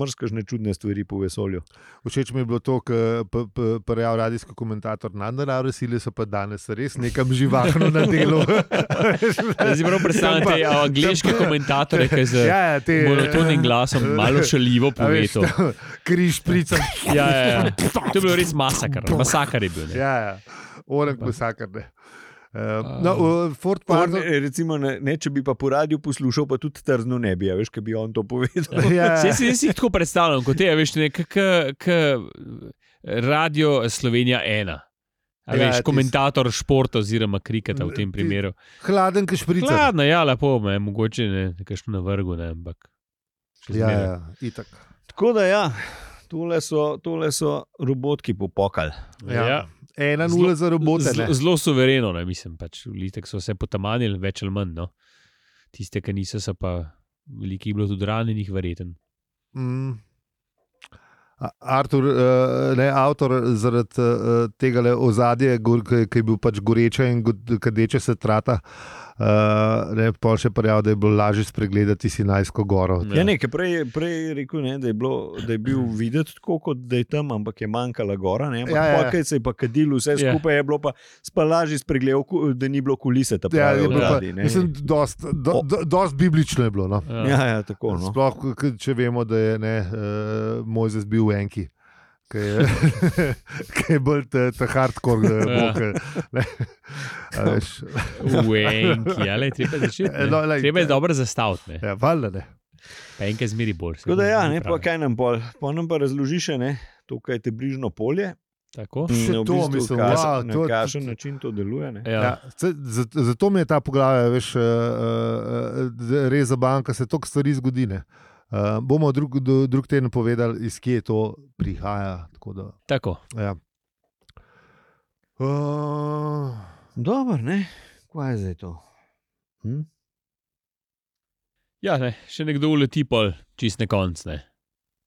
mrskažne čudne stvari po vesolju. Všeč mi je bilo to, kar je rekel radijski komentator, nadnaravne sile so pa danes res nekam živahno na delu. Zdaj si prav predstavljam te a, angliške komentatorje, ki z ja, ja, te, monotonim glasom malo šaljivo A veš, povedo. tam Križ prica. Ja, ja, ja. To je bil res masakar. Masakar je bil. Ne? Ja, ja. Orang vsakar. Uh, no, v- Ford On, Pardon. eh, recimo, ne, ne, če bi pa po radiju poslušal, pa tudi trzno ne bi, a veš, kaj bi on to povedal. Ja, Vse si, si jih tako predstavljam, kot je, veš, nekak radio Slovenija ena. A Ja, veš, tis- komentator športa oziroma kriketa v tem Ti- primeru. Hladen, ki šprica. Hladno, ja, lepo, me, mogoče ne, kakšno na vrhu, ne, ampak Še Ja, zmeraj. ja, itak. Tako da ja, tole so, tole so robotki popokali. Ja. Ena nula za robote. Zelo- ne. Zelo suvereno, ne, mislim. Pač, Litek so se potamanili, več ali manj. No. Tiste, ki niso, so pa veliko jih bilo tudi ranjenih, verjeten. Mm. A- Artur, eh, ne, avtor zaradi eh, tega ozadja, ki je bil pač goreče in go- kadeče se trata, eh, ne, pol še prijavil, da je bilo lažje spregledati Sinajsko goro. Ja, ja nekaj prej, prej je rekel, ne, da, je bilo, da je bil videti tako, kot da je tam, ampak je manjkala gora. Ne, ampak Ja, ja, ja. ja, ja. se je pa kadil, vse Ja. ja. skupaj je bilo pa spalaži spregledal, ku- da ni bilo kulise. ta Ja, prave je bilo pa, odzadaj, ne. mislim, dost, do, do, dost biblično je bilo. No. Ja. ja, ja, tako. No. Sploh, k- k- če vemo, da je ne, uh, Mojzes bil v enki. Kaj je, kaj je bolj ta, ta hardcore, eh, Ja. bog, eh, ne. A veš, Uenki, ali treba začeti. ne. No, lej, Treba je ja. dobro zastaviti, ne. ja, valjda ne. pa enkrat zmeri bolj. Tako da ja, ne, pa kaj nam pol, pa nam pa razloži še ne. Tukaj je bližnjo polje, Tako. Še Na to, mislim, kaže- wow, na to- to- kakšen način to deluje. Ne? Ja. Ja, se- za- zato mi je ta poglavje, veš, eh, eh, d- res za banka se toliko stvari zgodi. ne. Eh, Bomo drug, do- drug teden povedali, iz kje to prihaja. tako Da, Tako. ja. Oh. uh, Dobro, ne? Kaj je zdaj to? Hm? Ja, ne, še nekdo uleti pol, čist na konc. Ne.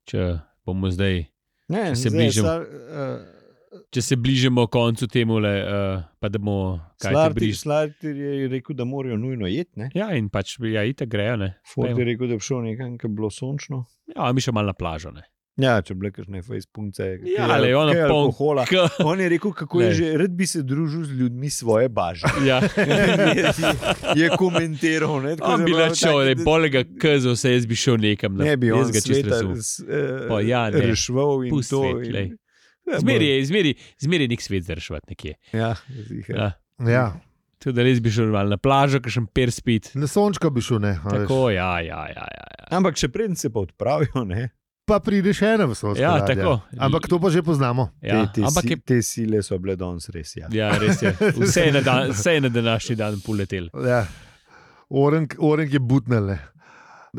Če bomo zdaj, Ne, Se zdaj, bližamo. sar, uh, če se bližamo koncu temu, le, uh, pa da bomo kaj te Slartir, bliž. Slartir je rekel, da morajo nujno jeti. ne. Ja, in pač, ja, itak grejo, ne. Ford je Pojdimo. rekel, da bi šel nekam, kjer bi bilo sončno. Ja, mi še malo na plažo, ne. Ja, če bi bile kakšne fejspunce, Ja, ali je ona poln- alkohola. K- On je rekel, kako Ne. je že, rad bi se družil z ljudmi svoje baže. Ja, je, je komentiral. Ne, tako on se bi pravi, lačal, da je tak- bolega kazal, se jaz bi šel nekam na Ne bi jaz on ga čisto sveta razumel. s- eh, Pa ja, ne. reševal in Pusti to. svet, in- glej. Ja, Zmeri je, zmeri, zmeri je nek svet zreševati nekje. Ja, ziher. Ja. ja. Tudi da res bi šel malo na plažo, kakšen per spit. No, Na sončka bi šel, ne. a veš. Tako, ja, ja, ja. ja. Ampak še preden se pa odpravijo, ne, Pa prideš enem sončka. Ja, tako. Ampak to pa že poznamo. ja. te, te, Ampak si, je te sile so bile danes res. Ja. Ja, res je. Vse je na, dan, vse je na današnji dan poletel. Ja. Orang, orang je butnele.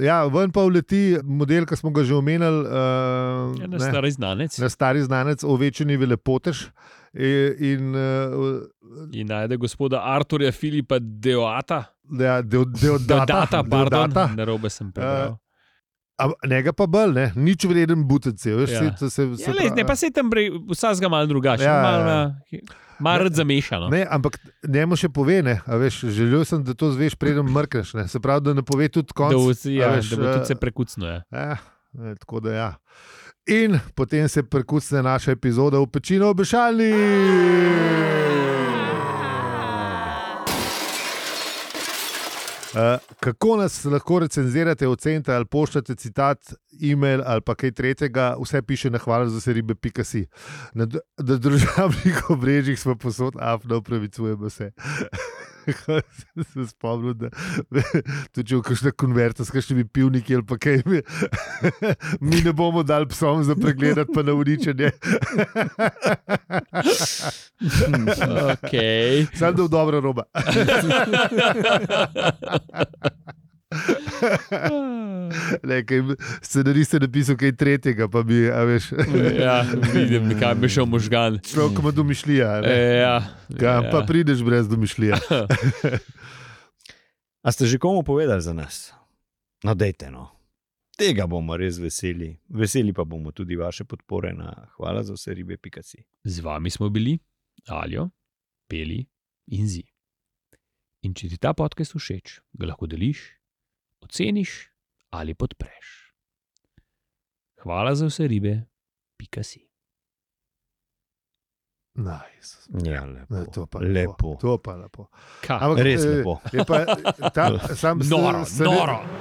Ja, ven pa uleti model, ki smo ga že omenjali. Uh, Ja, na stari znanec Na stari znanec, ovečeni velepotež. e, In uh, in najde gospoda Arturja Filipa Deoata, ja, del, del data, Deodata, pardon, Deodata. na robe sem Eh, prebral. A Ne ga pa bolj, ne? nič vreden butec. je, Veš, Ja. se, to se, se Ja, lej, pravi- ne, pa se tam brej, vsakega malo drugače, Ja, ja, ja, malo, ja. na- malo zamešano. Ne, ampak njemu še pove, ne, a veš, želel sem, da to zveš, preden mrkneš. Ne. Se pravi, da ne pove tudi konc. Da, v, a ja, veš, da bo eh, tudi se prekucno. Ja. Eh, eh, tako da ja. In potem se prekucne naša epizoda v pečino obešalni. Eh, Kako nas lahko recenzirate, ocenite ali pošljete citat, e-mail ali pa kaj tretjega, vse piše na hvala za seribe Pikasi. Na, dr- na družbenih obrežjih smo posod, afno upravičujemo se. Sem se spomnil, da tudi če v kakšne konverte s kakšnimi pivniki ali pa kaj, mi, mi ne bomo dali psom za pregled, pa na uničenje. Okay. Sam da v dobro roba. Nekaj scenarist je napisal kaj tretjega, pa bi, a veš, ja, vidim, kam je šel možgan. človek ima domišljija. a ne. E, ja, Kam ja. pa prideš brez domišljije? A ste že komu povedali za nas? No, dejte no. Tega bomo res veseli. Veseli pa bomo tudi vaše podpore na hvala za vse ribe, pikasi. Z vami smo bili, alijo, peli in zi. In če ti ta podcast všeč, ga lahko deliš, oceniš ali podpreš. Hvala za vse ribe, pika si. Nice. Ja, lepo. Ne, to pa lepo. lepo. To pa lepo. Kaj? Ampak, Res eh, lepo. Je pa, ta, sam s- Ah, Noro, s- noro.